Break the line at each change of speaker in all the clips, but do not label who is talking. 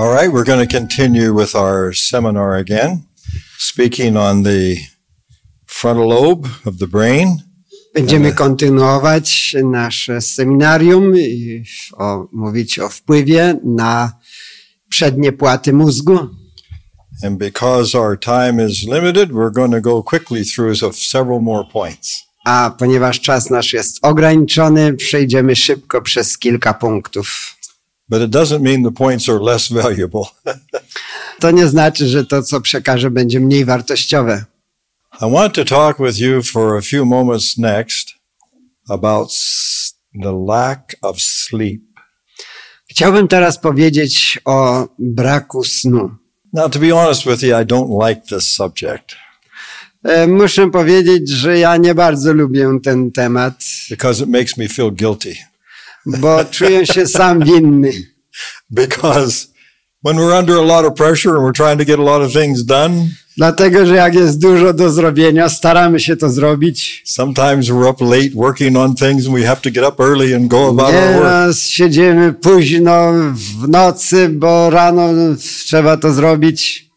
All right, we're going to continue with our seminar again, speaking on the frontal lobe of the brain.
Będziemy kontynuować nasze seminarium i w- o, mówić o wpływie na przednie płaty mózgu.
And because our time is limited, we're going to go quickly through so- several more points.
A ponieważ czas nasz jest ograniczony, przejdziemy szybko przez kilka punktów.
But it doesn't mean the points are less valuable.
To nie znaczy, że to, co przekażę, będzie mniej wartościowe.
I want to talk with you for a few moments next about s- the lack of sleep.
Chciałbym teraz powiedzieć o braku snu.
Now, to be honest with you, I don't like this subject
E, Muszę powiedzieć, że ja nie bardzo lubię ten temat,
because it makes me feel guilty.
bo czuję się sam winny.
Because when we're under a lot of pressure and we're trying to get a lot of things done,
Dlatego, że jak jest dużo do zrobienia, staramy się to zrobić.
sometimes we're up late working on things and we have to get up early and go about our work.
Nieraz siedzimy późno w nocy, bo rano trzeba to zrobić.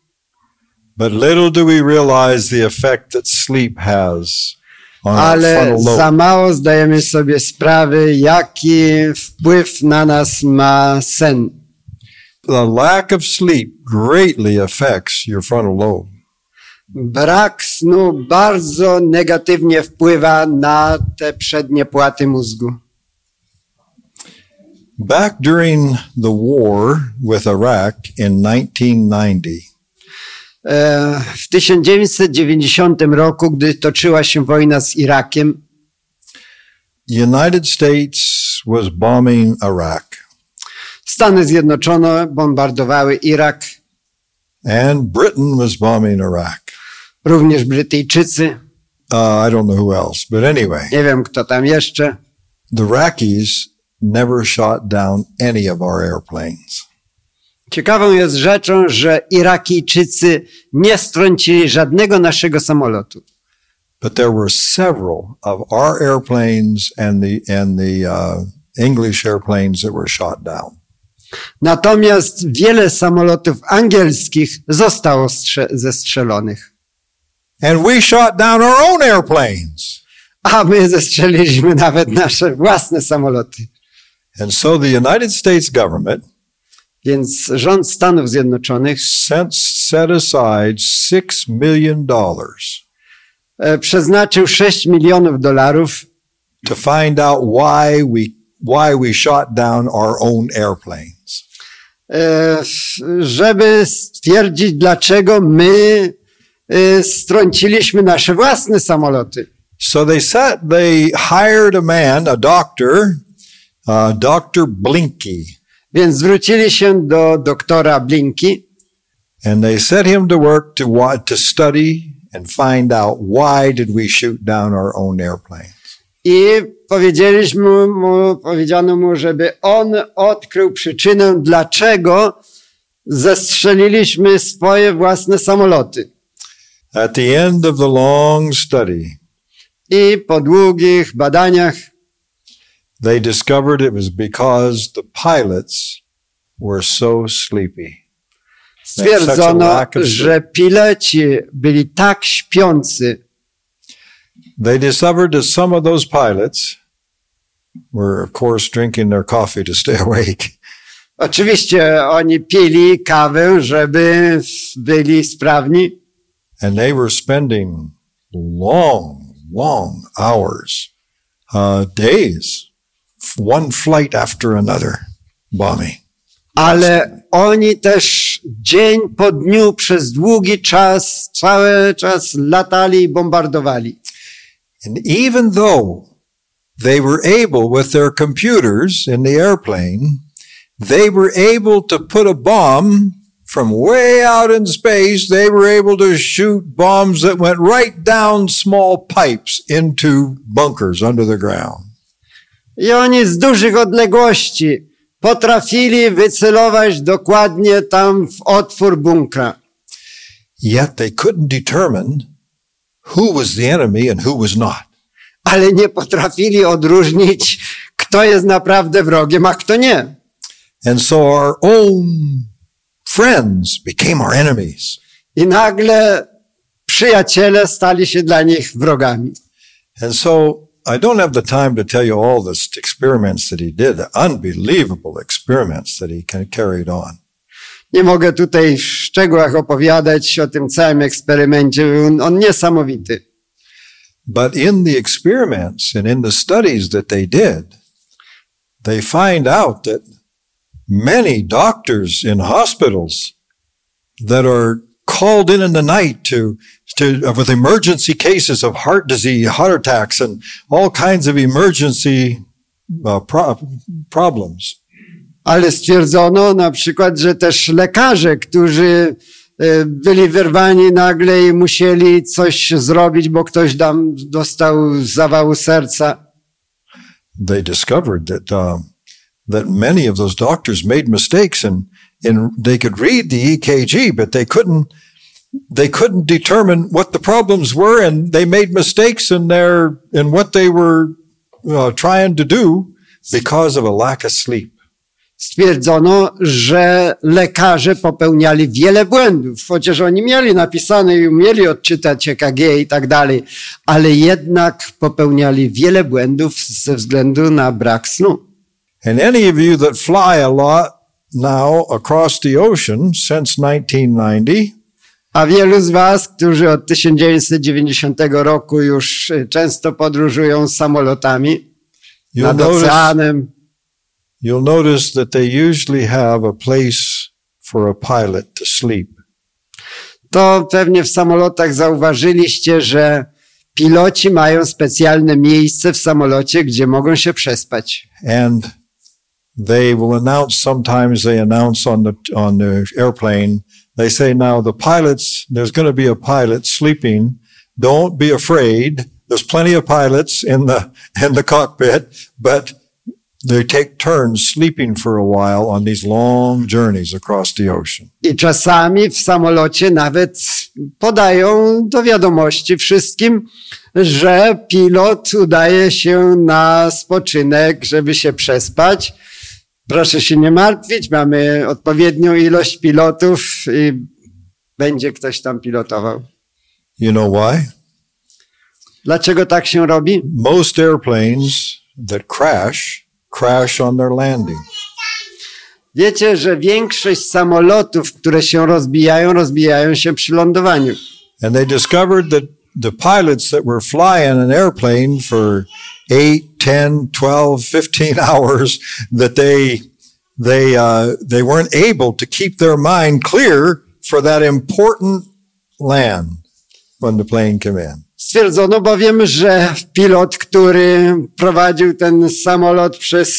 But little do we realize the effect that sleep has on our
Ale
frontal
za
lobe.
mało zdajemy sobie sprawy, jaki wpływ na nas ma sen.
The lack of sleep greatly affects your frontal lobe.
Brak snu bardzo negatywnie wpływa na te przednie płaty mózgu.
Back during the war with Iraq in 1990,
E, W 1990 roku, gdy toczyła się wojna z Irakiem,
the United States was bombing Iraq
Stany Zjednoczone bombardowały Irak,
and Britain was bombing Iraq.
również Brytyjczycy,
Uh, I don't know who else, but anyway,
nie wiem kto tam jeszcze.
the Iraqis never shot down any of our airplanes.
Ciekawą jest rzeczą, że Irakijczycy nie strącili żadnego naszego samolotu,
But there were several of our airplanes and the and the uh, English airplanes that were shot down.
natomiast wiele samolotów angielskich zostało strze- zestrzelonych.
And we shot down our own airplanes.
A my zestrzeliliśmy nawet nasze własne samoloty.
And so the United States government
Więc rząd Stanów Zjednoczonych
sent, set aside $6 million to
e, przeznaczył 6 milionów dolarów,
find out why we, why we shot down our own airplanes.
e, żeby stwierdzić, dlaczego my e, strąciliśmy nasze własne samoloty.
So they set, they hired a man, a doctor, uh, Dr. Blinky,
Więc zwrócili się do doktora Blinki
and they set him to work to, wa- to study and find out why did we shoot down our own airplane.
i powiedzieliśmy mu, powiedziano mu, żeby on odkrył przyczynę, dlaczego zestrzeliliśmy swoje własne samoloty.
At the end of the long study,
I po długich badaniach
they discovered it was because the pilots were so sleepy.
stwierdzono, że pileci byli tak śpiący,
They discovered that some of those pilots were, of course, drinking their coffee to stay awake.
Oczywiście oni pili kawę, żeby byli sprawni
And they were spending long, long hours, uh, days, f- one flight after another bombing.
ale oni też dzień po dniu przez długi czas, cały czas latali i bombardowali.
And even though they were able, with their computers in the airplane, they were able to put a bomb from way out in space. They were able to shoot bombs that went right down small pipes into bunkers under the ground.
I oni z dużych odległości potrafili wycelować dokładnie tam w otwór bunkra.
Yet they couldn't determine who was the enemy and who was not.
ale nie potrafili odróżnić, kto jest naprawdę wrogiem, a kto nie.
And so our own friends became our enemies.
I nagle przyjaciele stali się dla nich wrogami.
And so I don't have the time to tell you all the st- experiments that he did, the unbelievable experiments that he ca- carried on.
Nie mogę tutaj w szczegółach opowiadać o tym całym eksperymencie, był on- on niesamowity.
But in the experiments and in the studies that they did, they find out that many doctors in hospitals that are called in in the night to, to uh, with emergency cases of heart disease, heart attacks, and all kinds of emergency uh, pro- problems.
Ale stwierdzono na przykład, że też lekarze, którzy e, byli wyrwani nagle i musieli coś zrobić, bo ktoś tam dostał zawału serca.
they discovered that um, that many of those doctors made mistakes and and they could read the EKG, but they couldn't they couldn't determine what the problems were, and they made mistakes in their in what they were uh, trying to do because of a lack of sleep.
stwierdzono, że lekarze popełniali wiele błędów, chociaż oni mieli napisane i umieli odczytać EKG i tak dalej, ale jednak popełniali wiele błędów ze względu na brak snu.
And any of you that fly a lot now across the ocean since 1990,
A wielu z Was, którzy od 1990 roku już y, często podróżują samolotami
you'll
nad
notice
oceanem,
you'll notice that they usually have a place for a pilot to sleep.
to pewnie w samolotach zauważyliście, że piloci mają specjalne miejsce w samolocie, gdzie mogą się przespać.
and they will announce sometimes they announce on the on the airplane they say now the pilots there's going to be a pilot sleeping don't be afraid there's plenty of pilots in the in the cockpit but they take turns sleeping for a while on these long journeys across the ocean
I czasami w samolocie nawet podają do wiadomości wszystkim, że pilot udaje się na spoczynek, żeby się przespać. Proszę się nie martwić, mamy odpowiednią ilość pilotów i będzie ktoś tam pilotował.
you know why
Dlaczego tak się robi?
most airplanes that crash crash on their landing
Wiecie, że większość samolotów, które się rozbijają, rozbijają się przy lądowaniu.
And they discovered that the pilots that were flying an airplane for 8, 10, 12, 15 hours, that they, they, uh, they weren't able to keep their mind clear for that important land when the plane came in.
Stwierdzono bowiem, że pilot, który prowadził ten samolot przez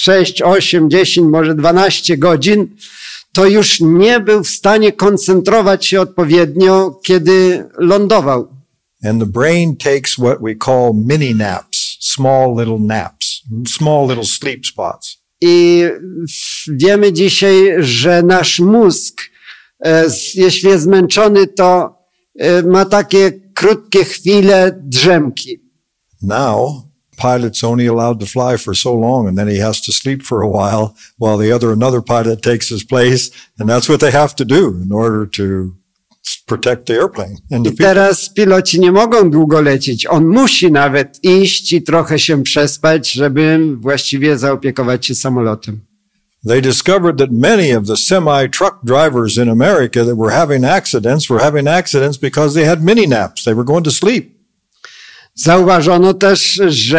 6, 8, 10, może 12 godzin, to już nie był w stanie koncentrować się odpowiednio, kiedy lądował.
And the brain takes what we call mini naps, small little naps, small little sleep spots.
I wiemy dzisiaj, że nasz mózg, e, s- jeśli jest zmęczony, to e, ma takie krótkie chwile drzemki.
now pilot's only allowed to fly for so long and then he has to sleep for a while while the other another pilot takes his place and that's what they have to do in order to s- protect the airplane and the
I
people.
teraz piloci nie mogą długo lecieć. On musi nawet iść i trochę się przespać, żeby właściwie zaopiekować się samolotem.
they discovered that many of the semi truck drivers in America that were having accidents were having accidents because they had mini naps they were going to sleep
Zauważono też, że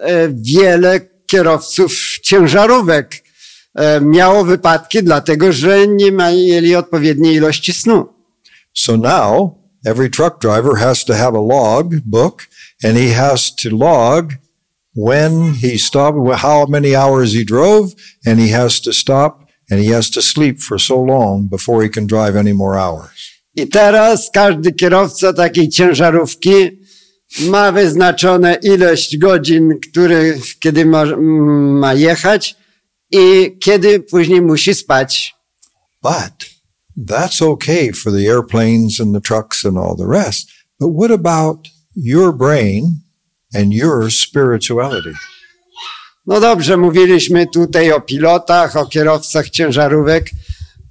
e, wiele kierowców ciężarówek e, miało wypadki, dlatego że nie mieli odpowiedniej ilości snu.
so now every truck driver has to have a log book and he has to log when he stopped, wh- how many hours he drove, and he has to stop and he has to sleep for so long before he can drive any more hours.
I teraz każdy kierowca takiej ciężarówki ma wyznaczone ilość godzin, który, kiedy ma, ma jechać i kiedy później musi spać.
But that's okay for the airplanes and the trucks and all the rest. But what about your brain and your spirituality?
No dobrze, mówiliśmy tutaj o pilotach, o kierowcach ciężarówek,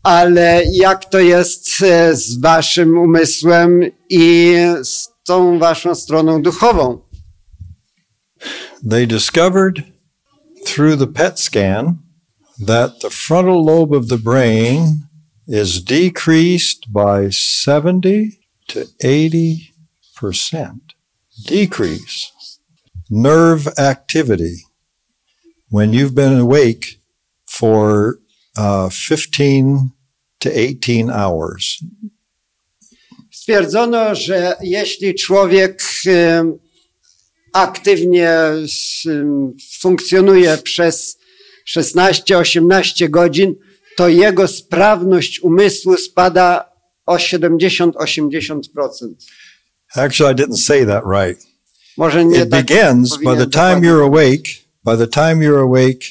ale jak to jest e, z waszym umysłem i z tą waszą stroną duchową?
They discovered through the PET scan that the frontal lobe of the brain is decreased by 70 to 80%. Decrease. Nerve activity. When you've been awake for uh, 15 to 18 hours.
Stwierdzono, że jeśli człowiek em, aktywnie em, funkcjonuje przez 16-18 godzin, to jego sprawność umysłu spada o 70-80%.
Actually, I didn't say that right.
Może nie
it
tak
begins by the
powinien
time
dokładnie.
you're awake by the time you're awake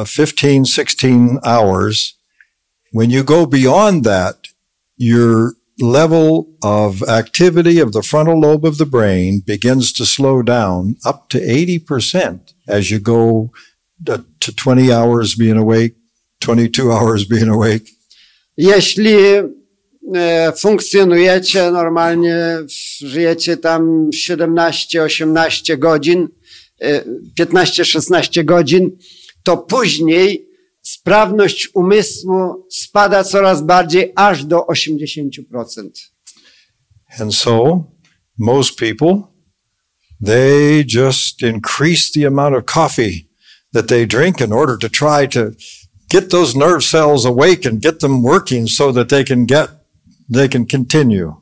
uh, 15 16 hours when you go beyond that your level of activity of the frontal lobe of the brain begins to slow down up to 80% as you go to to 20 hours being awake 22 hours being awake
Jeśli e, funkcjonujecie normalnie, w- żyjecie tam 17-18 godzin, e, 15-16 godzin, to później sprawność umysłu spada coraz bardziej aż do 80%.
And so most people, they just increase the amount of coffee that they drink in order to try to get those nerve cells awake and get them working so that they can get, they can continue.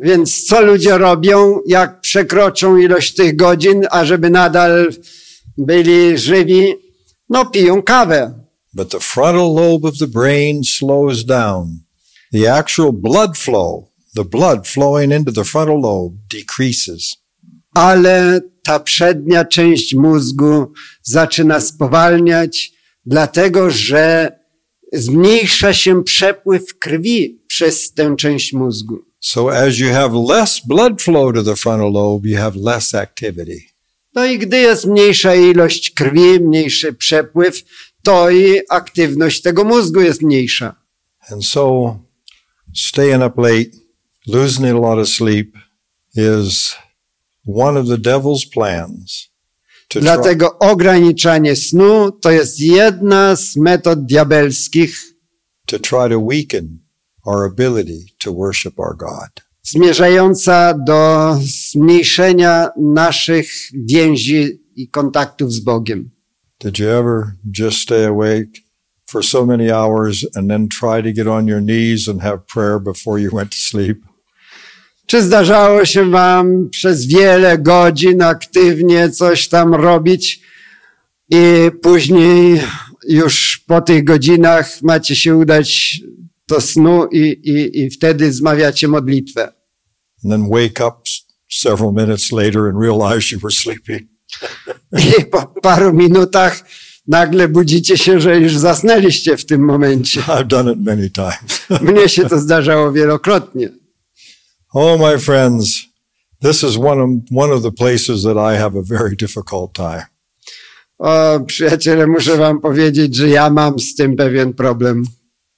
Więc co ludzie robią, jak przekroczą ilość tych godzin, ażeby nadal byli żywi? No piją kawę.
But the frontal lobe of the brain slows down. The actual blood flow, the blood flowing into the frontal lobe decreases.
ale ta przednia część mózgu zaczyna spowalniać, dlatego że zmniejsza się przepływ krwi przez tę część mózgu.
So as you have less blood flow to the frontal lobe, you have less activity.
No i gdy jest mniejsza ilość krwi, mniejszy przepływ, to i aktywność tego mózgu jest mniejsza.
And so staying up late, losing a lot of sleep is one of the devil's plans to try,
Dlatego ograniczanie snu to jest jedna z metod diabelskich
to try to weaken our ability to worship our God.
zmierzająca do zmniejszenia naszych więzi i kontaktów z Bogiem.
Did you ever just stay awake for so many hours and then try to get on your knees and have prayer before you went to sleep?
Czy zdarzało się Wam przez wiele godzin aktywnie coś tam robić i później już po tych godzinach macie się udać do snu i, i, i wtedy zmawiacie modlitwę?
And then wake up s- several minutes later and realize you were sleeping.
I po paru minutach nagle budzicie się, że już zasnęliście w tym momencie.
I've done it many times.
Mnie się to zdarzało wielokrotnie.
Oh, my friends, this is one of, one of the places that I have a very difficult time.
O, przyjaciele, muszę wam powiedzieć, że ja mam z tym pewien problem.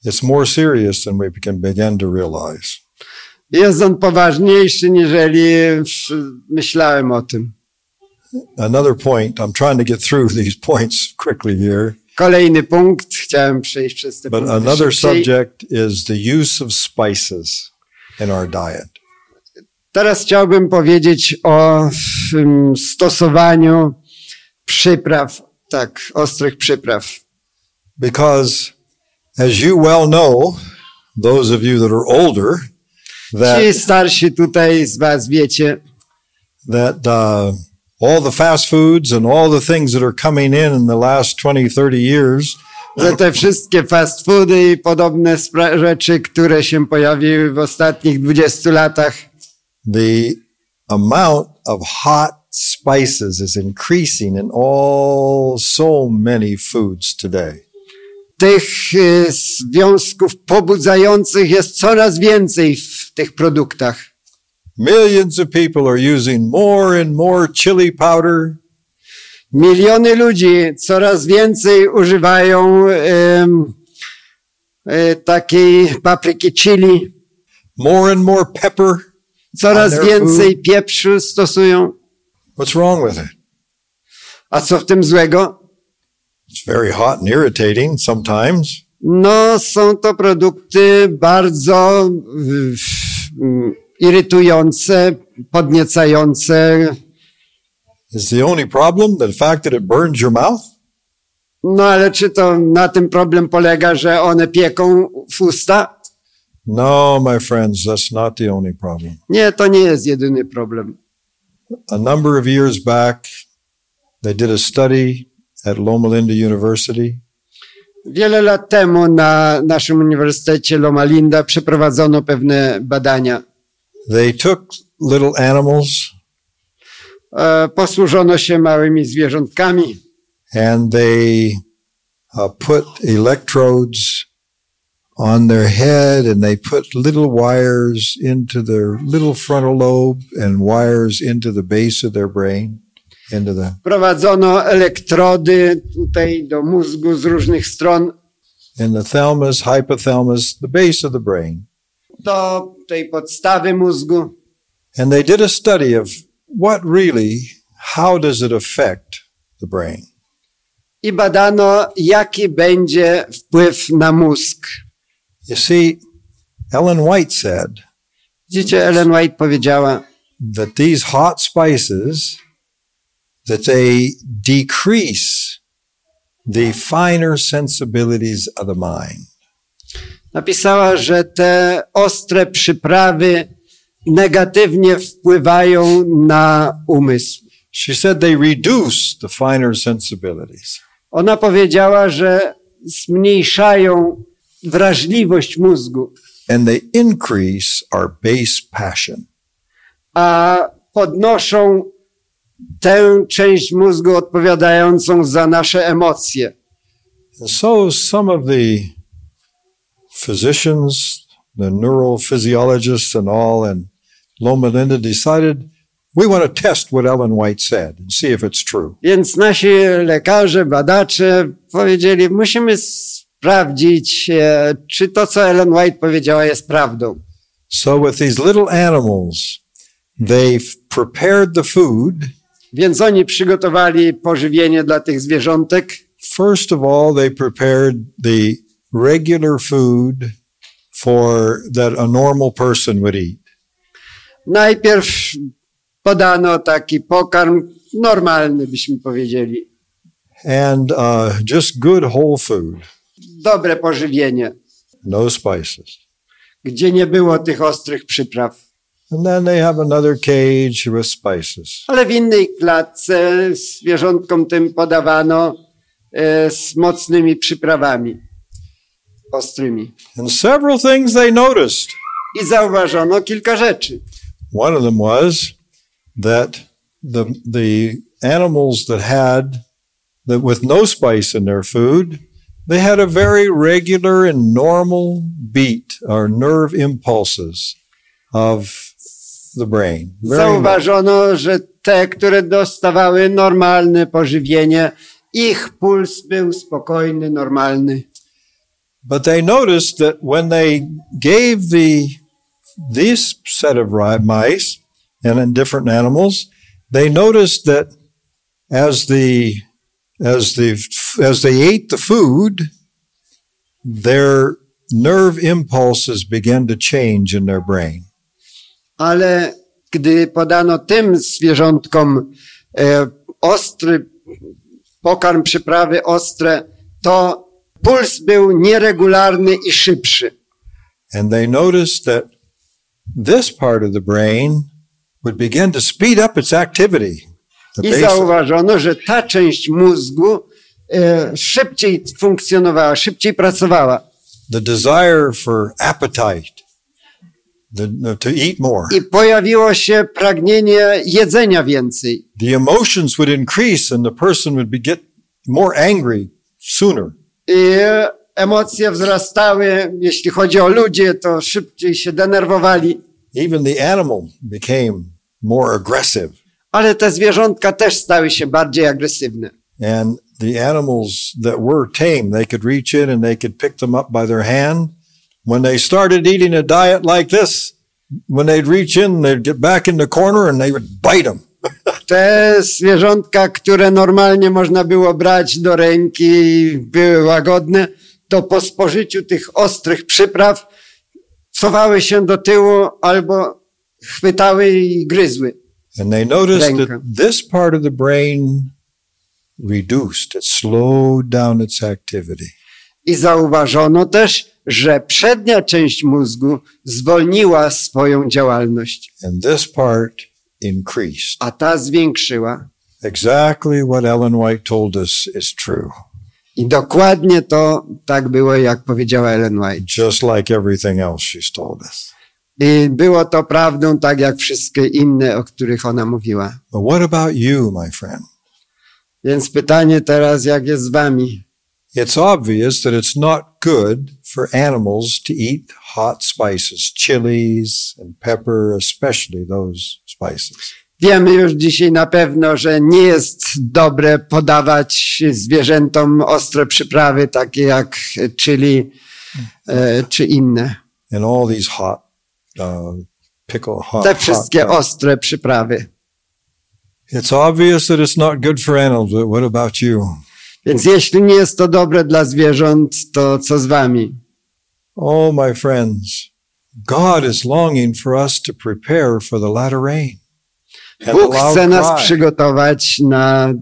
It's more serious than we can begin to realize.
Jest on poważniejszy, niżeli w- myślałem o tym.
Another point, I'm trying to get through these points quickly here,
Kolejny punkt, chciałem przejść przez te
but
punkty
another
szybciej.
subject is the use of spices in our diet.
Teraz chciałbym powiedzieć o mm, stosowaniu przypraw, tak, ostrych przypraw.
Because, as you well know, those of you that are older, that
Ci starsi tutaj z was wiecie,
that uh, all the fast foods and all the things that are coming in in the last 20, 30 years,
że te wszystkie fast foody i podobne spra- rzeczy, które się pojawiły w ostatnich 20 latach,
the amount of hot spices is increasing in all so many foods today.
tych y, związków pobudzających jest coraz więcej w tych produktach.
Millions of people are using more and more chili powder,
Miliony ludzi coraz więcej używają em, e, takiej papryki chili,
more and more pepper.
coraz
Ale-
więcej pieprzu stosują.
What's wrong with it?
A co w tym złego?
It's very hot and irritating sometimes.
No, są to produkty bardzo w- w- m, irytujące, podniecające.
Is the only problem the fact that it burns your mouth?
No, ale czy to na tym problem polega, że one pieką w usta?
No, my friends, that's not the only problem.
Nie, to nie jest jedyny problem.
A number of years back, they did a study at Loma Linda University
Wiele lat temu na naszym Uniwersytecie Loma Linda przeprowadzono pewne badania.
They took little animals
E, Posłużono się małymi zwierzątkami
and they uh, put electrodes on their head and they put little wires into their little frontal lobe and wires into the base of their brain, into the,
Wprowadzono elektrody tutaj do mózgu z różnych stron,
in the thalamus, hypothalamus, the base of the brain.
do tej podstawy mózgu.
And they did a study of what really, how does it affect the brain?
I badano, jaki będzie wpływ na mózg.
You see, Ellen White said
Widzicie, Ellen White powiedziała,
that these hot spices that they decrease the finer sensibilities of the mind.
napisała, że te ostre przyprawy negatywnie wpływają na umysł.
She said they reduce the finer sensibilities.
Ona powiedziała, że zmniejszają wrażliwość mózgu,
And they increase our base passion.
a podnoszą tę część mózgu odpowiadającą za nasze emocje.
And so some of the physicians, the neurophysiologists and all in Loma Linda decided we want to test what Ellen White said and see if it's true.
Więc nasi lekarze, badacze powiedzieli, musimy sprawdzić, e, czy to, co Ellen White powiedziała, jest prawdą.
So with these little animals, they've prepared the food.
Więc oni przygotowali pożywienie dla tych zwierzątek.
First of all, they prepared the regular food for that a normal person would eat.
Najpierw podano taki pokarm normalny, byśmy powiedzieli.
And uh, just good whole food,
dobre pożywienie,
no spices.
gdzie nie było tych ostrych przypraw.
And then they have another cage with spices.
Ale w innej klatce zwierzątkom tym podawano e, z mocnymi przyprawami ostrymi.
And several things they noticed.
I zauważono kilka rzeczy.
One of them was that the, the animals that had that with no spice in their food, they had a very regular and normal beat or nerve impulses of the brain. Very normal.
Zauważono, że te, które dostawały normalne pożywienie, ich puls był spokojny, normalny.
But they noticed that when they gave the this set of ri- mice and in different animals, they noticed that as the as the as they ate the food, their nerve impulses began to change in their brain.
ale gdy podano tym zwierzątkom e, ostry pokarm, przyprawy ostre, to puls był nieregularny i szybszy.
And they noticed that this part of the brain would begin to speed up its activity. The
I
basic-
zauważono, że ta część mózgu e, szybciej funkcjonowała, szybciej pracowała
the desire for appetite, the, to eat more.
i pojawiło się pragnienie jedzenia więcej.
The emotions would increase and the person would be, get more angry sooner.
I emocje wzrastały. Jeśli chodzi o ludzie, to szybciej się denerwowali.
Even the animal became more aggressive.
Ale te zwierzątka też stały się bardziej agresywne.
And the animals that were tame, they could reach in and they could pick them up by their hand. When they started eating a diet like this, when they'd reach in, they'd get back in the corner and they would bite them.
Te zwierzątka, które normalnie można było brać do ręki i były łagodne, to po spożyciu tych ostrych przypraw cofały się do tyłu albo chwytały i gryzły.
And they noticed that
Denken.
this part of the brain reduced, it slowed down its activity.
I zauważono też, że przednia część mózgu zwolniła swoją działalność,
And this part increased.
a ta zwiększyła.
Exactly what Ellen White told us is true,
I dokładnie to tak było, jak powiedziała Ellen White.
just like everything else she's told us.
I było to prawdą, tak jak wszystkie inne, o których ona mówiła.
But what about you, my friend?
Więc pytanie teraz, jak jest z wami?
It's obvious that it's not good for animals to eat hot spices, chilies and pepper, especially those spices.
Wiemy już dzisiaj na pewno, że nie jest dobre podawać zwierzętom ostre przyprawy, takie jak chili e, czy inne.
And all these hot, uh, pickle hot.
Te
hot
wszystkie
peppers.
ostre przyprawy.
It's obvious that it's not good for animals, but what about you?
Więc jeśli nie jest to dobre dla zwierząt, to co z wami?
Oh, my friends, God is longing for us to prepare for the latter rain. And the
Bóg
loud
chce nas
cry.
przygotować na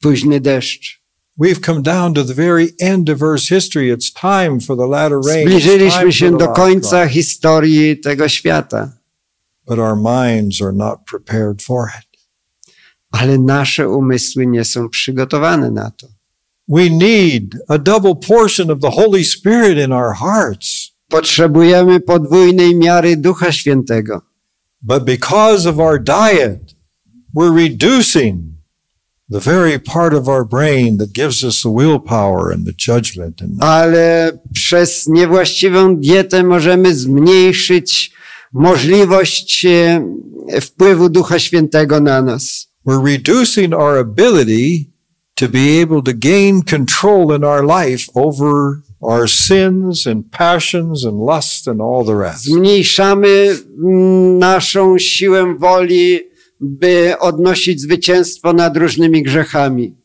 późny deszcz.
We've come down to the very end of Earth's history. It's time for the latter rain. It's time
Zbliżyliśmy
for
się
the
do
loud
końca
cry.
historii tego świata,
But our minds are not prepared for it.
ale nasze umysły nie są przygotowane na to.
We need a double portion of the Holy Spirit in our hearts.
Potrzebujemy podwójnej miary Ducha Świętego,
But because of our diet, we're reducing the very part of our brain that gives us the willpower and the judgment. And
ale przez niewłaściwą dietę możemy zmniejszyć możliwość e, wpływu Ducha Świętego na nas.
we're reducing our ability to be able to gain control in our life over our sins and passions and lust and all the rest.
Zmniejszamy mm, naszą siłę woli, by odnosić zwycięstwo nad różnymi grzechami.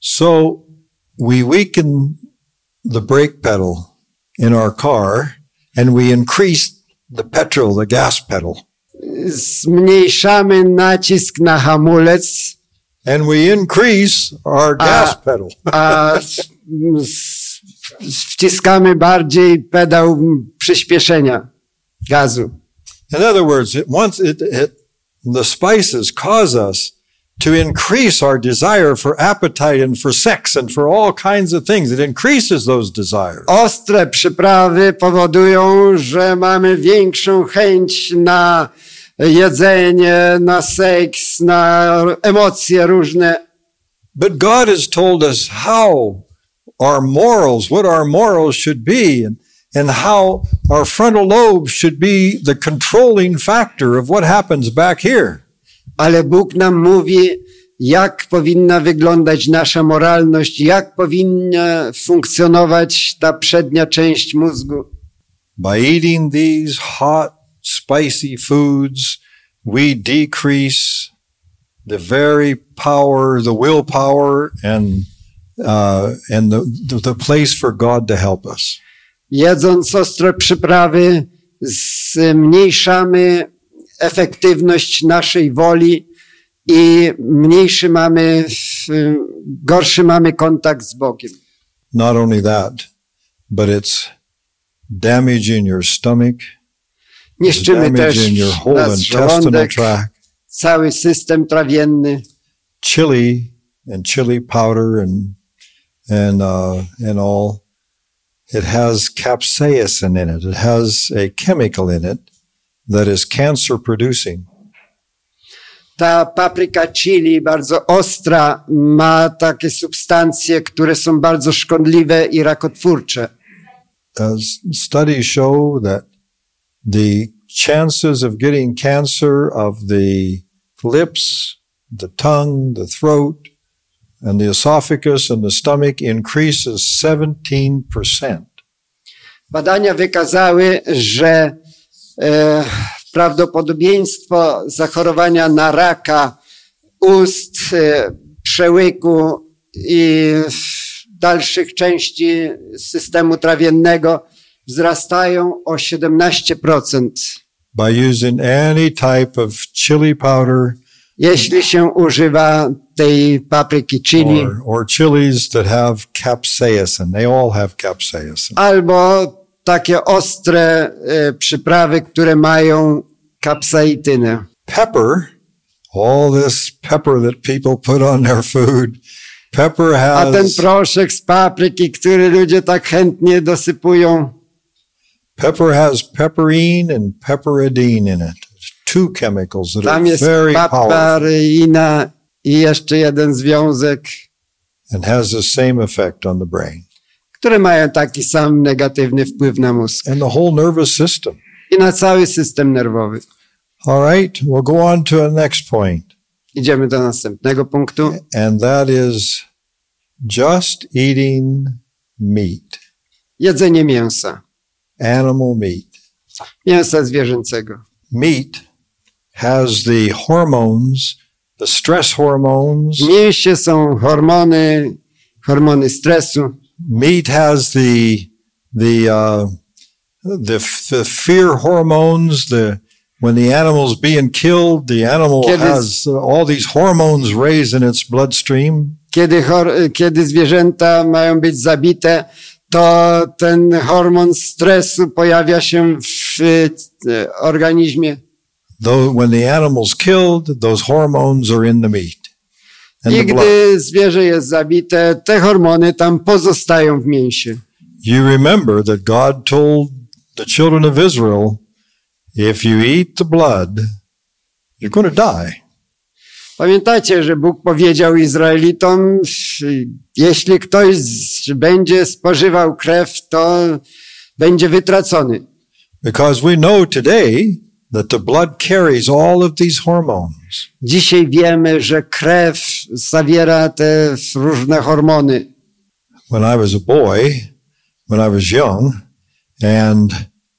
So we weaken the brake pedal in our car and we increase the petrol, the gas pedal,
Zmniejszamy nacisk na hamulec,
and we increase our gas
Ah.
pedal.
a s- s- wciskamy bardziej pedał mm, przyspieszenia gazu.
In other words, it, once it, it, the spices cause us to increase our desire for appetite and for sex and for all kinds of things. It increases those desires.
Ostre przyprawy powodują, że mamy większą chęć na jedzenie, na seks, na emocje różne.
But God has told us how our morals, what our morals should be, and, and how our frontal lobe should be the controlling factor of what happens back here.
ale Bóg nam mówi, jak powinna wyglądać nasza moralność, jak powinna funkcjonować ta przednia część mózgu.
By eating these hot, spicy foods, we decrease the very power, the willpower, and uh, and the, the the place for God to help us.
Jedząc ostre przyprawy, zmniejszamy efektywność naszej woli i mniejszy mamy, w- gorszy mamy kontakt z Bogiem.
Not only that, but it's damaging your stomach, it's
Niszczymy też
damaging your whole
nasz
intestinal
żołądek,
tract.
cały system trawienny.
Chili and chili powder and and uh, and all. It has capsaicin in it. It has a chemical in it that is cancer producing.
Ta papryka chili, bardzo ostra, ma takie substancje, które są bardzo szkodliwe i rakotwórcze.
Uh, s- studies show that the chances of getting cancer of the lips, the tongue, the throat, and the esophagus and the stomach increases 17%.
Badania wykazały, że e, prawdopodobieństwo zachorowania na raka ust, e, przełyku i dalszych części systemu trawiennego wzrastają o 17%,
by using any type of chili powder
jeśli się używa tej papryki chili.
or, or chilies that have capsaicin. They all have capsaicin.
albo takie ostre e, przyprawy, które mają kapsaitynę.
Pepper, all this pepper that people put on their food, pepper
A ten
has
proszek z papryki, który ludzie tak chętnie dosypują,
pepper has pepperine and pepperidine in it. Two chemicals that
tam
are
jest
very powerful
paparyina i jeszcze jeden związek,
and has the same effect on the brain
które mają taki sam negatywny wpływ na mózg
and the whole nervous system.
i na cały system nerwowy.
All right, we'll go on to the next point.
Idziemy do następnego punktu.
and that is just eating meat,
Jedzenie mięsa,
animal meat.
mięsa zwierzęcego.
Meat has the hormones, the stress hormones.
W mięsie są hormony, hormony stresu,
Meat has the the uh, the, f- the fear hormones. The when the animal's being killed, the animal
Kid is-
has uh, all these hormones raised in its bloodstream.
kiedy, chor, kiedy zwierzęta mają być zabite, to ten hormon stresu pojawia się w e, organizmie.
Though when the animal's killed, those hormones are in the meat and
I
the blood.
gdy zwierzę jest zabite, te hormony tam pozostają w mięsie.
You remember that God told the children of Israel, if you eat the blood, you're going to die.
Pamiętacie, że Bóg powiedział Izraelitom, jeśli ktoś z- będzie spożywał krew, to będzie wytracony.
Because we know today that the blood carries all of these hormones.
Dzisiaj wiemy, że krew zawiera te różne hormony.
When I was a boy, when I was young, and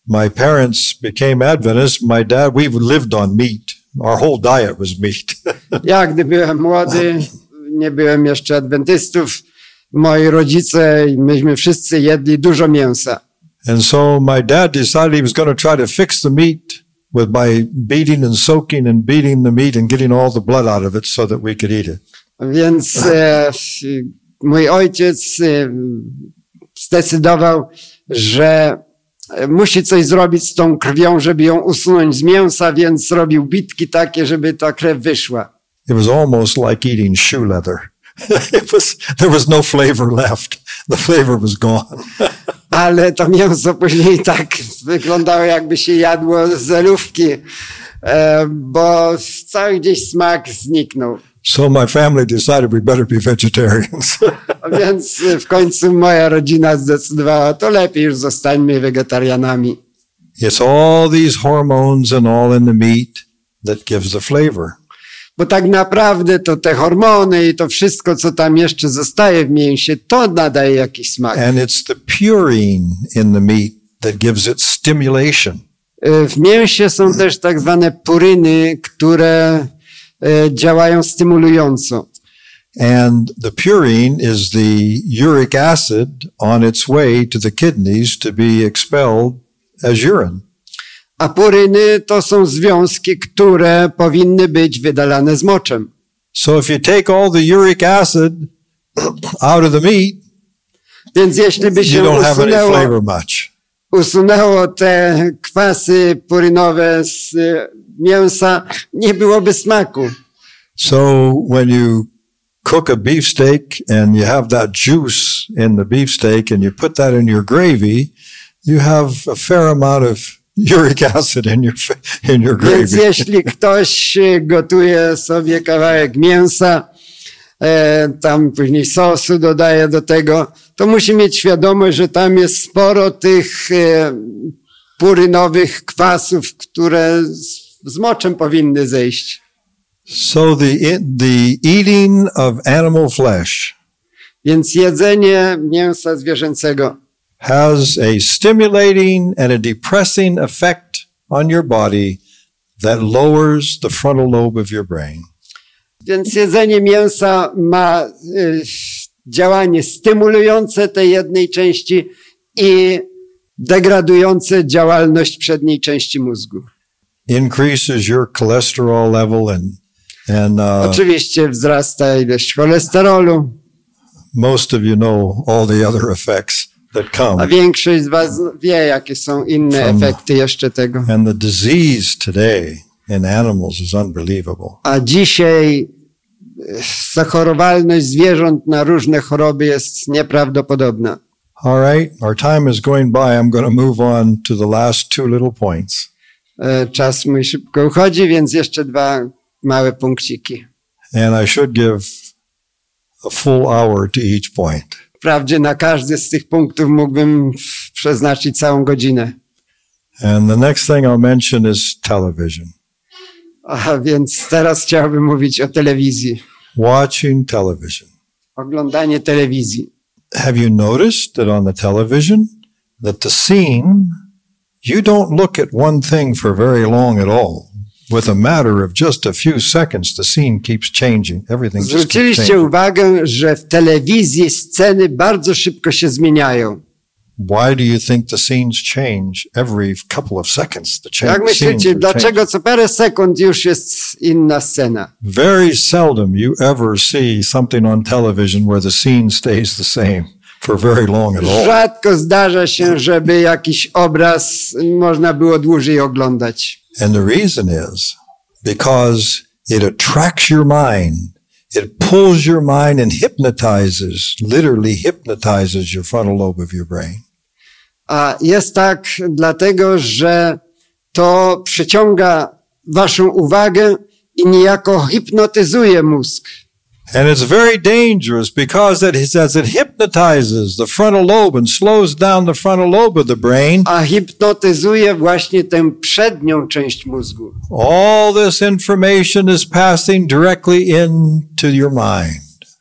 my parents became Adventists, my dad, we lived on meat. Our whole diet was meat.
Ja, gdy byłem młody, nie byłem jeszcze adwentystów, moi rodzice i myśmy wszyscy jedli dużo mięsa.
And so my dad decided he was going to try to fix the meat with by beating and soaking and beating the meat and getting all the blood out of it so that we could eat it.
Więc e, mój ojciec e, zdecydował, że musi coś zrobić z tą krwią, żeby ją usunąć z mięsa, więc robił bitki takie, żeby ta krew wyszła.
It was almost like eating shoe leather. it was there was no flavor left. The flavor was gone.
Ale to mięso później tak wyglądało, jakby się jadło z zelówki, e, bo cały gdzieś smak zniknął.
So my family decided we better be vegetarians.
A Więc y, w końcu moja rodzina zdecydowała, to lepiej już zostańmy wegetarianami.
it's all these hormones and all in the meat that gives the flavor.
Bo tak naprawdę to te hormony i to wszystko, co tam jeszcze zostaje w mięsie, to nadaje jakiś smak.
And it's the purine in the meat that gives it stimulation.
E, W mięsie są też tak zwane puryny, które e, działają stymulująco.
And the purine is the uric acid on its way to the kidneys to be expelled as urine.
A puryny to są związki, które powinny być wydalane z moczem.
So if you take all the uric acid out of the meat,
Więc jeśli by
you
się
don't have any
usunęło
flavor much.
usunęło te kwasy purynowe z y, mięsa, nie byłoby smaku.
So when you cook a beefsteak and you have that juice in the beefsteak and you put that in your gravy, you have a fair amount of uric acid in your fa- in your
Więc
gravy.
jeśli ktoś e, gotuje sobie kawałek mięsa, e, tam później sosu dodaje do tego, to musi mieć świadomość, że tam jest sporo tych e, purynowych kwasów, które z, z moczem powinny zejść.
So the it, the eating of animal flesh
Więc jedzenie mięsa zwierzęcego
has a stimulating and a depressing effect on your body that lowers the frontal lobe of your brain.
Więc jedzenie mięsa ma y, działanie stymulujące tej jednej części i degradujące działalność przedniej części mózgu.
Increases your cholesterol level and and uh,
Oczywiście wzrasta ilość cholesterolu,
most of you know all the other effects that
a
come.
większość z Was wie, jakie są inne
Sam-
efekty jeszcze tego.
And the disease today in animals is unbelievable.
A dzisiaj y, zachorowalność zwierząt na różne choroby jest nieprawdopodobna.
All right, our time is going by. I'm going to move on to the last two little points.
E, Czas mój szybko uchodzi, więc jeszcze dwa małe punkciki.
And I should give a full hour to each point.
Wprawdzie na każdy z tych punktów mógłbym f- przeznaczyć całą godzinę.
And the next thing I'll mention is television.
A więc teraz chciałbym mówić o telewizji,
Watching television.
oglądanie telewizji.
Have you noticed that on the television that the scene you don't look at one thing for very long at all. With a matter of just a few seconds, the scene keeps changing. Everything just keeps
Zwróciliście
changing.
uwagę, że w telewizji sceny bardzo szybko się zmieniają.
Why do you think the scenes change every couple of seconds? The change
Jak myślicie,
scenes are changing.
dlaczego co parę sekund już jest inna scena?
Very seldom you ever see something on television where the scene stays the same for very long at all.
Rzadko zdarza się, żeby jakiś obraz można było dłużej oglądać.
And the reason is because it attracts your mind. It pulls your mind and hypnotizes, literally hypnotizes your frontal lobe of your brain.
A jest tak dlatego, że to przyciąga waszą uwagę i niejako hipnotyzuje mózg.
And it's very dangerous because it, as it hypnotizes the frontal lobe and slows down the frontal lobe of the brain,
A hipnotyzuje właśnie tę przednią część mózgu.
all this information is passing directly into your mind.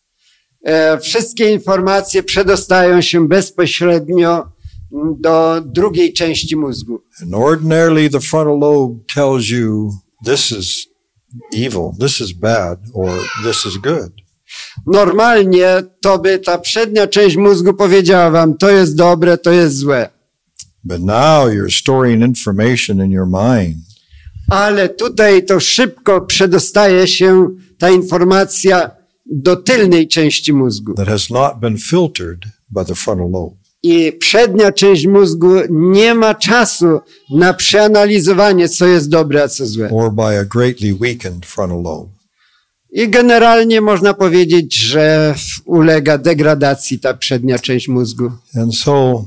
E, wszystkie informacje przedostają się bezpośrednio mm, do drugiej części mózgu.
And ordinarily, the frontal lobe tells you this is evil, this is bad, or this is good.
Normalnie to by ta przednia część mózgu powiedziała wam, to jest dobre, to jest złe.
But now you're storing information in your mind.
ale tutaj to szybko przedostaje się ta informacja do tylnej części mózgu.
That has not been filtered by the frontal lobe.
I przednia część mózgu nie ma czasu na przeanalizowanie, co jest dobre, a co złe.
Or by a greatly weakened frontal lobe.
I generalnie można powiedzieć, że ulega degradacji ta przednia część mózgu.
And so,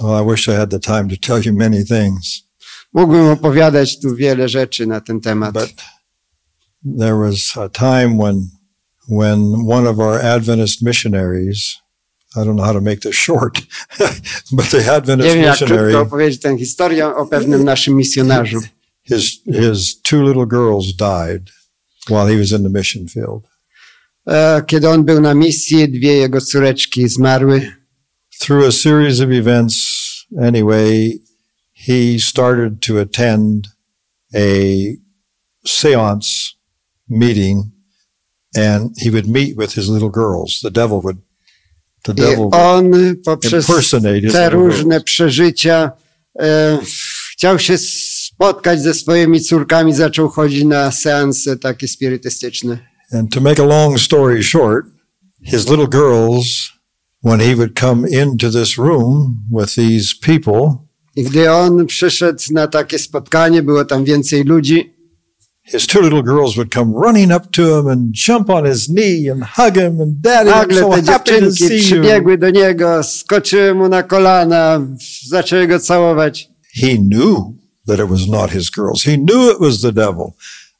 oh, I wish I had the time to tell you many things,
Mógłbym opowiadać tu wiele rzeczy na ten temat.
but there was a time when, when one of our Adventist missionaries, I don't know how to make this short, but the
Nie
Adventist
wiem, jak
missionary,
krótko opowiedzieć tę historię o pewnym naszym misjonarzu.
his his two little girls died while he was in the mission field.
E, Kiedy on był na misji, dwie jego córeczki zmarły.
Through a series of events, anyway, he started to attend a seance meeting and he would meet with his little girls. The devil would the
I
devil would
on poprzez
impersonate his
te
little
różne
girls.
przeżycia e, chciał się spotkać ze swoimi córkami, zaczął chodzić na seanse takie spirytystyczne.
And to make a long story short, his little girls, when he would come into this room with these people,
I gdy on przyszedł na takie spotkanie, było tam więcej ludzi,
his two little girls would come running up to him and jump on his knee and hug him and daddy i'm
nagle
so
te
happy to
dziewczynki
see you
przybiegły do niego, skoczyły mu na kolana, zaczęły go całować.
he knew that it was not his girls. He knew it was the devil.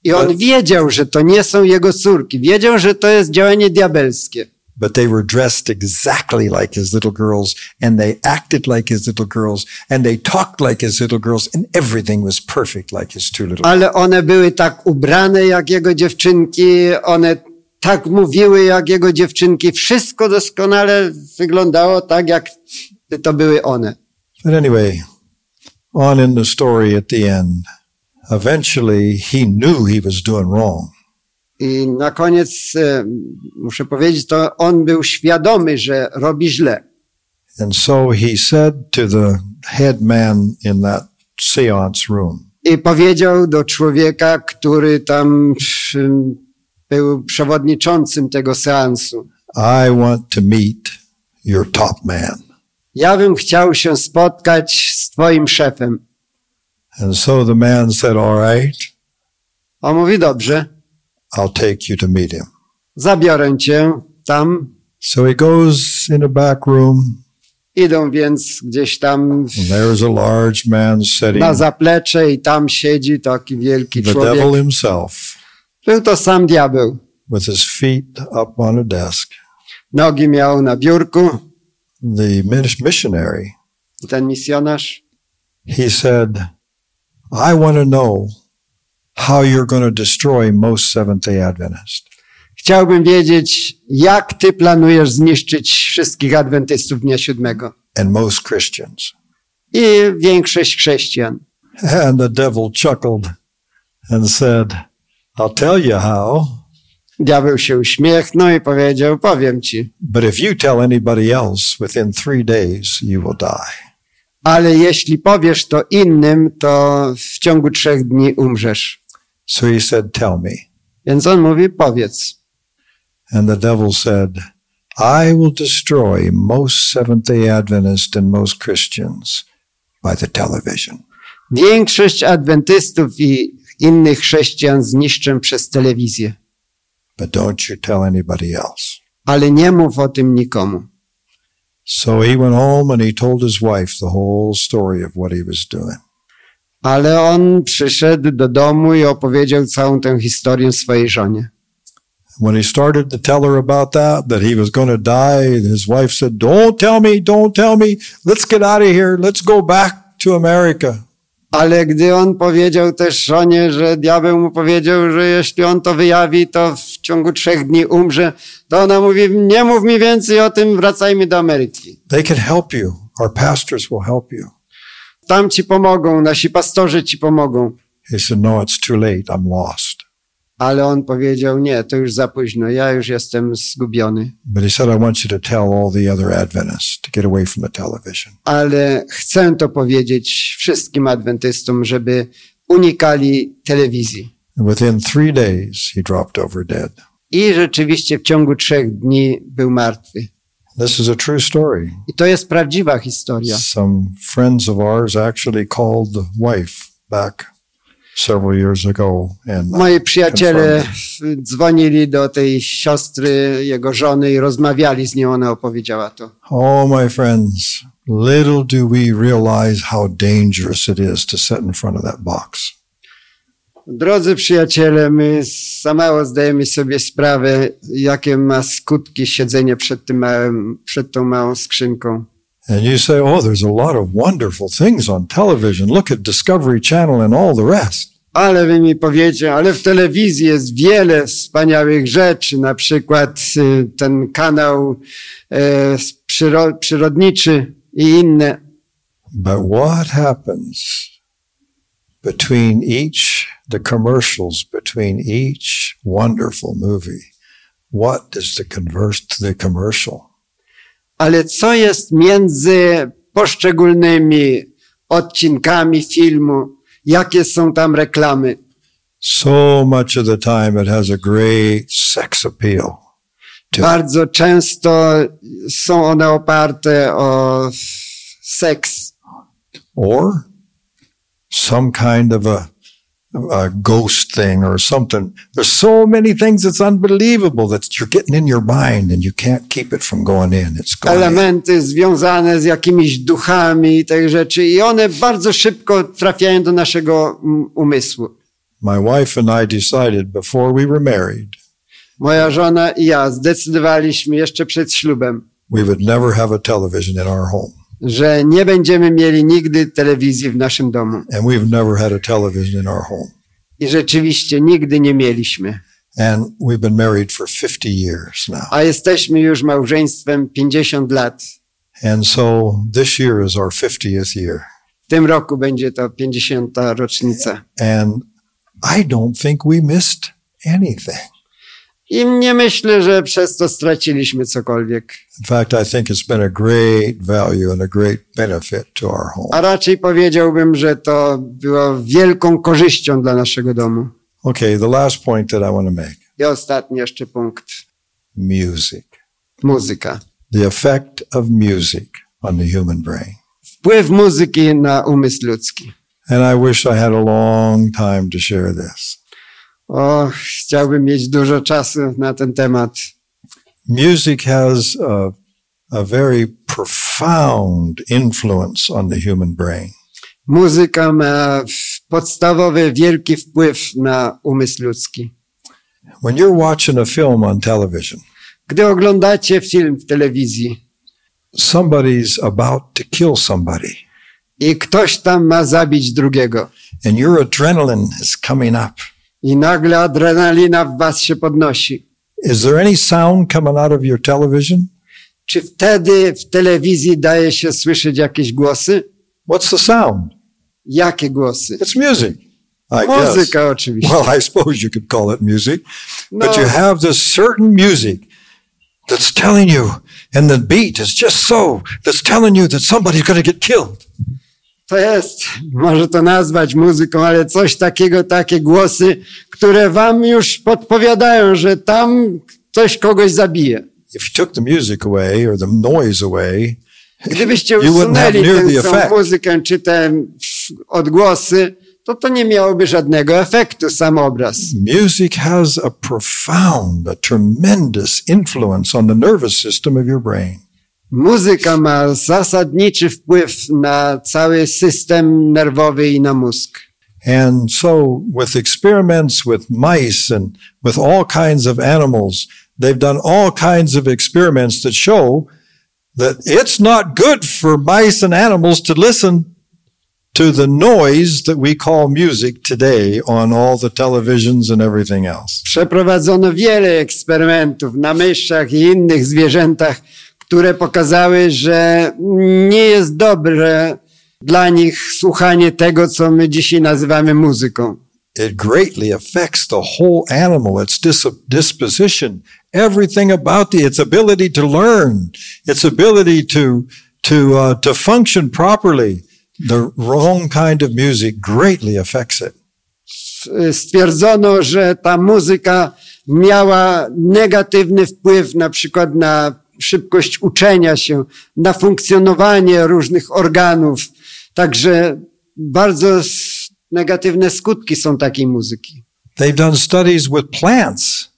I on wiedział, że to nie są jego córki. Wiedział, że to jest działanie diabelskie.
but they were dressed exactly like his little girls and they acted like his little girls and they talked like his little girls and everything was perfect like his two little
Ale one były tak ubrane jak jego dziewczynki, one tak mówiły jak jego dziewczynki. Wszystko doskonale wyglądało tak, jak to były one.
But anyway, on in the story at the end, eventually he knew he was doing wrong.
I na koniec e, muszę powiedzieć, to on był świadomy, że robi źle.
And so he said to the head man in that seance room,
I powiedział do człowieka, który tam przy- był przewodniczącym tego seansu.
I want to meet your top man.
Ja bym chciał się spotkać z twoim szefem.
And so the man said, All right,
On mówi, dobrze,
I'll take you to meet him.
zabiorę cię tam.
So he goes in a back room
Idą więc gdzieś tam w-
And there's a large man sitting,
na
the
zaplecze i tam siedzi taki wielki
devil
człowiek.
himself,
Był to sam diabeł.
with his feet up on a desk.
Nogi miał na biurku,
The mis- missionary,
ten misjonarz.
he said, I want to know how you're going to destroy most Seventh day Adventists.
Chciałbym wiedzieć, jak ty planujesz zniszczyć wszystkich adwentystów dnia siódmego
And most Christians.
i większość chrześcijan.
And the devil chuckled and said, I'll tell you how,
Diabeł się uśmiechnął i powiedział, powiem ci,
but if you tell anybody else within three days, you will die.
ale jeśli powiesz to innym, to w ciągu trzech dni umrzesz.
So he said, Tell me.
Więc on mówi, powiedz.
And the devil said, I will destroy most Seventh day Adventists and most Christians by the television.
Większość adwentystów i innych chrześcijan zniszczę przez telewizję,
But don't you tell anybody else.
ale nie mów o tym nikomu.
So he went home and he told his wife the whole story of what he was doing.
Ale on przyszedł do domu i opowiedział całą tę historię swojej żonie.
When he started to tell her about that, that he was going to die, his wife said, Don't tell me, don't tell me. Let's get out of here. Let's go back to America.
Ale gdy on powiedział też żonie, że diabeł mu powiedział, że jeśli on to wyjawi, to w ciągu trzech dni umrze, to ona mówi, nie mów mi więcej o tym, wracajmy do Ameryki.
They can help you. Our pastors will help you.
Tam ci pomogą, nasi pastorzy ci pomogą.
He said, No, it's too late. I'm lost.
Ale on powiedział, nie, to już za późno, ja już jestem zgubiony.
But he said, I want you to tell all the other Adventists to get away from the television.
Ale chcę to powiedzieć wszystkim adwentystom, żeby unikali telewizji.
And within three days, he dropped over dead.
I rzeczywiście w ciągu trzech dni był martwy.
This is a true story.
I to jest prawdziwa historia.
Some friends of ours actually called the wife back several years ago. And
Moi przyjaciele dzwonili do tej siostry, jego żony i rozmawiali z nią, ona opowiedziała to.
oh, my friends, little do we realize how dangerous it is to sit in front of that box.
Drodzy przyjaciele, my za mało zdajemy sobie sprawę, jakie ma skutki siedzenie przed, tym małym, przed tą małą skrzynką.
And you say, oh, there's a lot of wonderful things on television. Look at Discovery Channel and all the rest.
Ale wy mi powiecie, ale w telewizji jest wiele wspaniałych rzeczy, na przykład y, ten kanał e, przyro, przyrodniczy i inne.
But what happens between each, the commercials between each wonderful movie? What does the converse to the commercial?
Ale co jest między poszczególnymi odcinkami filmu? Jakie są tam reklamy?
So much of the time it has a great sex appeal. Tak.
Bardzo często są one oparte o seks
or some kind of a a ghost thing or something. There's so many things that's unbelievable that you're getting in your mind and you can't keep it from going in. It's going in.
elementy związane z jakimiś duchami i tych rzeczy i one bardzo szybko trafiają do naszego mm, umysłu.
My wife and I decided before we were married,
Moja żona i ja zdecydowaliśmy jeszcze przed ślubem,
we would never have a television in our home.
że nie będziemy mieli nigdy telewizji w naszym domu.
And we've never had a television in our home.
I rzeczywiście nigdy nie mieliśmy.
And we've been married for 50 years now.
A jesteśmy już małżeństwem 50 lat.
And so this year is our 50th year.
W tym roku będzie to 50. rocznica.
And I don't think we missed anything.
I nie myślę, że przez to straciliśmy cokolwiek.
In fact, I think it's been a great value and a great benefit to our home.
A raczej powiedziałbym, że to było wielką korzyścią dla naszego domu.
Okay, the last point that I want to make
I ostatni jeszcze punkt.
music.
Muzyka.
The effect of music on the human brain.
Wpływ muzyki na umysł ludzki.
And I wish I had a long time to share this.
O, chciałbym mieć dużo czasu na ten temat.
Music has a, a very profound influence on the human brain.
Muzyka ma w- podstawowy, wielki wpływ na umysł ludzki.
When you're watching a film on television,
Gdy oglądacie film w telewizji
somebody's about to kill somebody,
i ktoś tam ma zabić drugiego
and your adrenaline is coming up.
i nagle adrenalina w was się podnosi,
Is there any sound coming out of your television?
czy wtedy w telewizji daje się słyszeć jakieś głosy?
What's the sound?
Jakie głosy?
It's music. I guess.
Muzyka oczywiście.
Well, I suppose you could call it music,
No,
but you have this certain music that's telling you, and the beat is just so, that's telling you that somebody's going to get killed.
to jest, może to nazwać muzyką, ale coś takiego, takie głosy, które wam już podpowiadają, że tam ktoś kogoś zabije.
If you took the music away or the noise away,
Gdybyście
You wouldn't have
usunęli
near the
tę samą
effect.
muzykę czy te odgłosy, to to nie miałoby żadnego efektu, sam obraz.
music has a profound, a tremendous influence on the nervous system of your brain.
Muzyka ma zasadniczy wpływ na cały system nerwowy i na mózg.
And so, with experiments with mice and with all kinds of animals, they've done all kinds of experiments that show that it's not good for mice and animals to listen to the noise that we call music today on all the televisions and everything else.
Przeprowadzono wiele eksperymentów na myszach i innych zwierzętach, które pokazały, że nie jest dobre dla nich słuchanie tego, co my dzisiaj nazywamy muzyką.
It greatly affects the whole animal, its dis- disposition, everything about it, its ability to learn, its ability to to uh, to function properly. The wrong kind of music greatly affects it.
Stwierdzono, że ta muzyka miała negatywny wpływ na przykład na szybkość uczenia się, na funkcjonowanie różnych organów. Także bardzo s- negatywne skutki są takiej muzyki.
They've done studies with plants,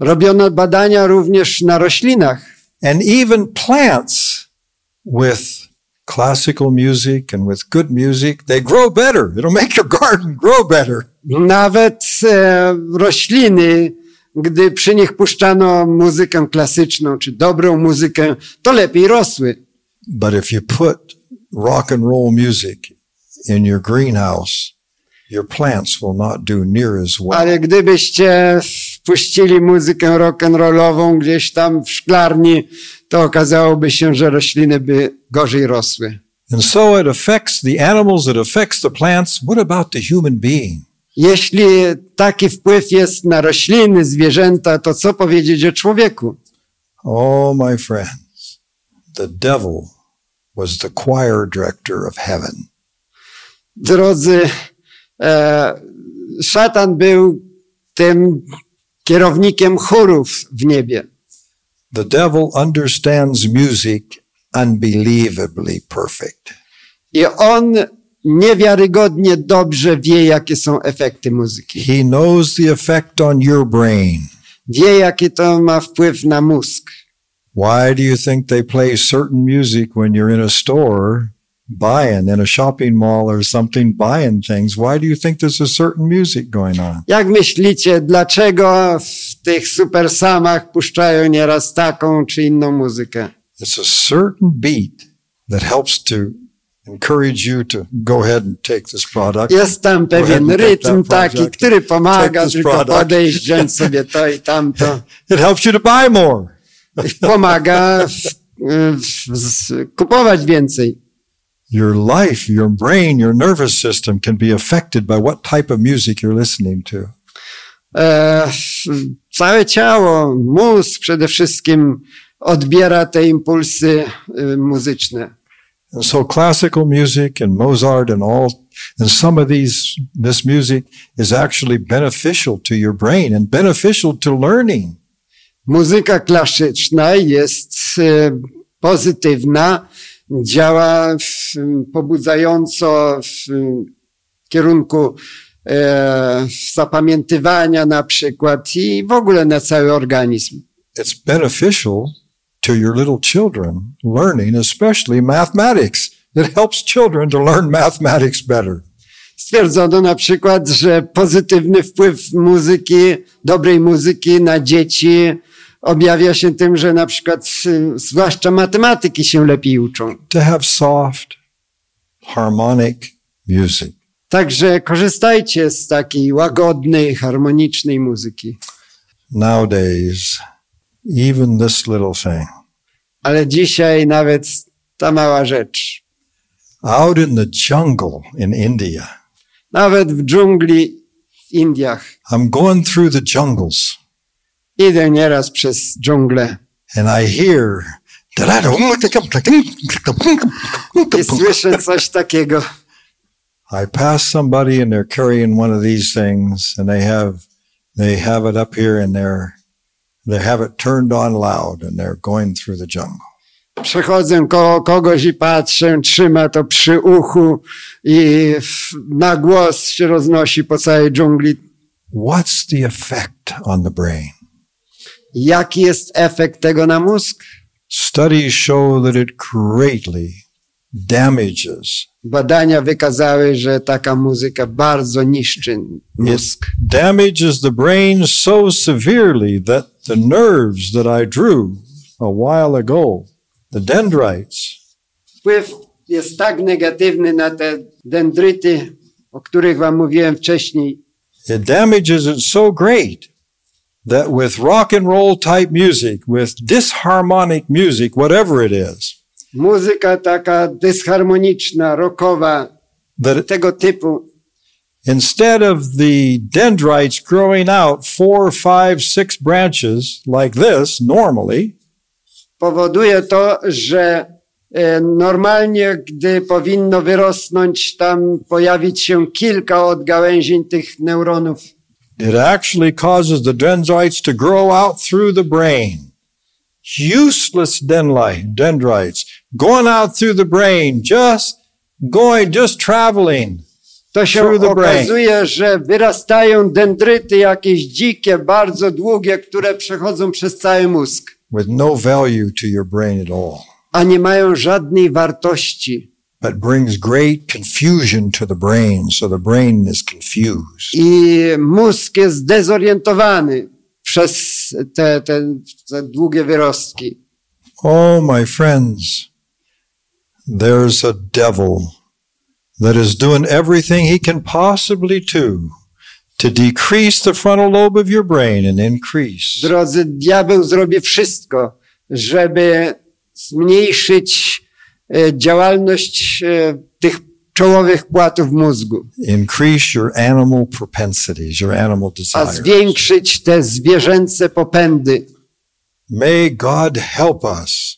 Robiono badania również na roślinach
and even plants with classical music and with good music, they grow better. It'll make your garden grow better.
nawet e, rośliny, gdy przy nich puszczano muzykę klasyczną czy dobrą muzykę, to lepiej rosły.
But if you put rock and roll music in your greenhouse, your plants will not do near as well.
Ale gdybyście wpuścili muzykę rock'n'rollową gdzieś tam w szklarni, to okazałoby się, że rośliny by gorzej rosły.
And so it affects the animals, it affects the plants. What about the human being?
Jeśli taki wpływ jest na rośliny, zwierzęta, to co powiedzieć o człowieku?
Oh, my friends, the devil was the choir director of heaven.
drodzy, e, szatan był tym kierownikiem chórów w niebie.
The devil understands music unbelievably perfect.
I on niewiarygodnie dobrze wie, jakie są efekty muzyki.
He knows the effect on your brain.
Wie, jaki to ma wpływ na mózg.
Why do you think they play certain music when you're in a store buying, in a shopping mall or something, buying things? Why do you think there's a certain music going on?
Jak myślicie, dlaczego w tych supersamach puszczają nieraz taką czy inną muzykę?
It's a certain beat that helps to encourage you to go ahead and take this product.
Jest tam pewien
Go ahead and take
rytm
that
taki,
project.
który pomaga
Take this
tylko
product.
podejść, wziąć sobie to i tamto.
It helps you to buy more.
Pomaga w, w, w, kupować więcej.
Your life, your brain, your nervous system can be affected by what type of music you're listening to.
E, całe ciało, mózg przede wszystkim odbiera te impulsy e, muzyczne.
And so classical music and Mozart and all, and some of these, this music is actually beneficial to your brain and beneficial to learning.
Muzyka klasyczna jest e, pozytywna, działa w, pobudzająco w kierunku e, zapamiętywania na przykład i w ogóle na cały organizm.
It's beneficial to your little children learning, especially mathematics. It helps children to learn mathematics better.
Stwierdzono na przykład, że pozytywny wpływ muzyki, dobrej muzyki na dzieci objawia się tym, że na przykład y, zwłaszcza matematyki się lepiej uczą.
To have soft, harmonic music.
Także korzystajcie z takiej łagodnej, harmonicznej muzyki.
Nowadays, even this little thing,
Ale dzisiaj nawet ta mała rzecz,
out in the jungle in India,
nawet w dżungli w Indiach,
I'm going through the jungles.
idę nieraz przez dżunglę
and I hear
i słyszę coś takiego.
I pass somebody and they're carrying one of these things and they have they have it up here and they're they have it turned on loud and they're going through the jungle.
Przechodzę koło kogoś i patrzę, trzyma to przy uchu i w- na głos się roznosi po całej dżungli.
What's the effect on the brain?
Jaki jest efekt tego na mózg?
Studies show that it greatly damages
Badania wykazały, że taka muzyka bardzo niszczy mózg.
damages the brain so severely that the nerves that I drew a while ago, the dendrites,
Wpływ jest tak negatywny na te dendryty, o których wam mówiłem wcześniej.
it damages it so great that with rock and roll type music, with disharmonic music, whatever it is,
Muzyka taka dysharmoniczna, rockowa,
that it,
tego typu.
instead of the dendrites growing out four, five, six branches like this normally,
powoduje to, że e, normalnie, gdy powinno wyrosnąć, tam pojawić się kilka odgałęzień tych neuronów.
it actually causes the dendrites to grow out through the brain. Useless dendli- dendrites going out through the brain, just going, just traveling.
To się
Through the brain.
okazuje, że wyrastają dendryty jakieś dzikie, bardzo długie, które przechodzą przez cały mózg,
with no value to your brain at all,
a nie mają żadnej wartości
but brings great confusion to the brain. So the brain is confused.
i mózg jest zdezorientowany przez te, te, te długie wyrostki.
Oh, my friends, there's a devil that is doing everything he can possibly do to decrease the frontal lobe of your brain and increase.
Drodzy, diabeł zrobi wszystko, żeby zmniejszyć e, działalność e, tych czołowych płatów mózgu,
Increase your animal propensities, your animal
a
desires.
zwiększyć te zwierzęce popędy.
May God help us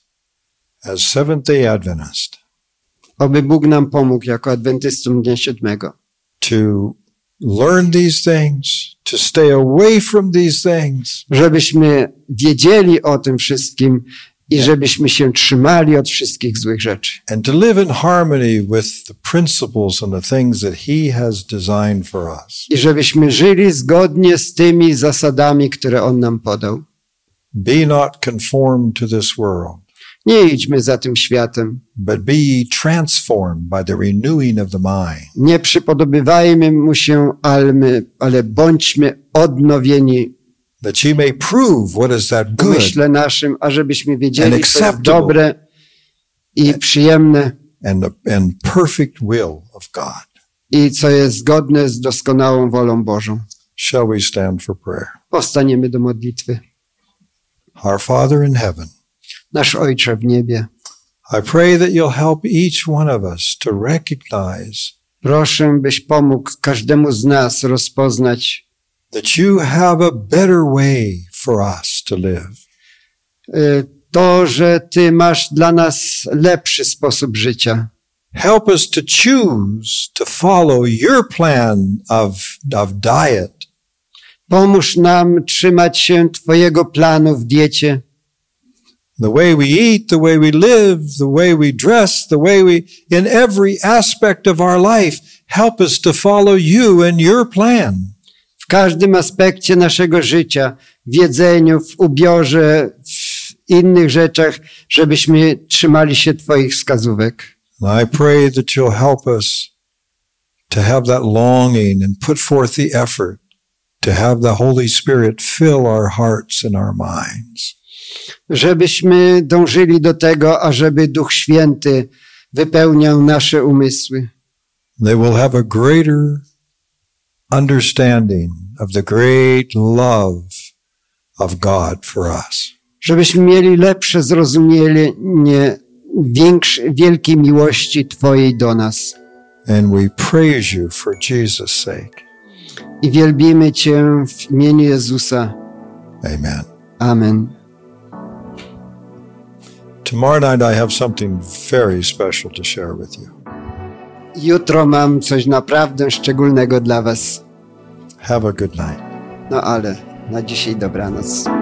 as Seventh day Adventists.
Oby Bóg nam pomógł jako adwentystom Dnia Siódmego,
to learn these things, to stay away from these things,
żebyśmy wiedzieli o tym wszystkim i żebyśmy się trzymali od wszystkich złych rzeczy.
and to live in harmony with the principles and the things that He has designed for us.
I żebyśmy żyli zgodnie z tymi zasadami, które On nam podał.
Be not conformed to this world,
Nie idźmy za tym światem.
but be ye transformed by the renewing of the mind,
Nie przypodobywajmy mu się, ale, my, ale bądźmy odnowieni
that ye may prove what is that
w
good
myśle naszym, ażebyśmy wiedzieli,
And
co jest
acceptable.
dobre i przyjemne
and the and perfect will of God.
i co jest zgodne z doskonałą wolą Bożą.
Shall we stand for prayer?
Powstaniemy do modlitwy.
Our Father in heaven,
Nasz Ojcze w niebie,
I pray that you'll help each one of us to recognize
proszę, byś pomógł każdemu z nas rozpoznać,
that you have a better way for us to live.
y, to, że Ty masz dla nas lepszy sposób życia.
Help us to choose to follow your plan of, of diet
Pomóż nam trzymać się Twojego planu w diecie,
the way we eat, the way we live, the way we dress, the way we, in every aspect of our life, help us to follow you and your plan.
w każdym aspekcie naszego życia, w jedzeniu, w ubiorze, w innych rzeczach, żebyśmy trzymali się Twoich wskazówek.
And I pray that you'll help us to have that longing and put forth the effort to have the Holy Spirit fill our hearts and our minds.
Żebyśmy dążyli do tego, ażeby Duch Święty wypełniał nasze umysły.
they will have a greater understanding of the great love of God for us.
żebyśmy mieli lepsze zrozumienie większe, wielkiej miłości Twojej do nas.
And we praise you for Jesus' sake.
I wielbimy Cię w imieniu Jezusa.
Amen.
Amen.
Tomorrow night, I have something very special to share with you.
Jutro mam coś naprawdę szczególnego dla Was.
Have a good night.
No ale na dzisiaj dobranoc.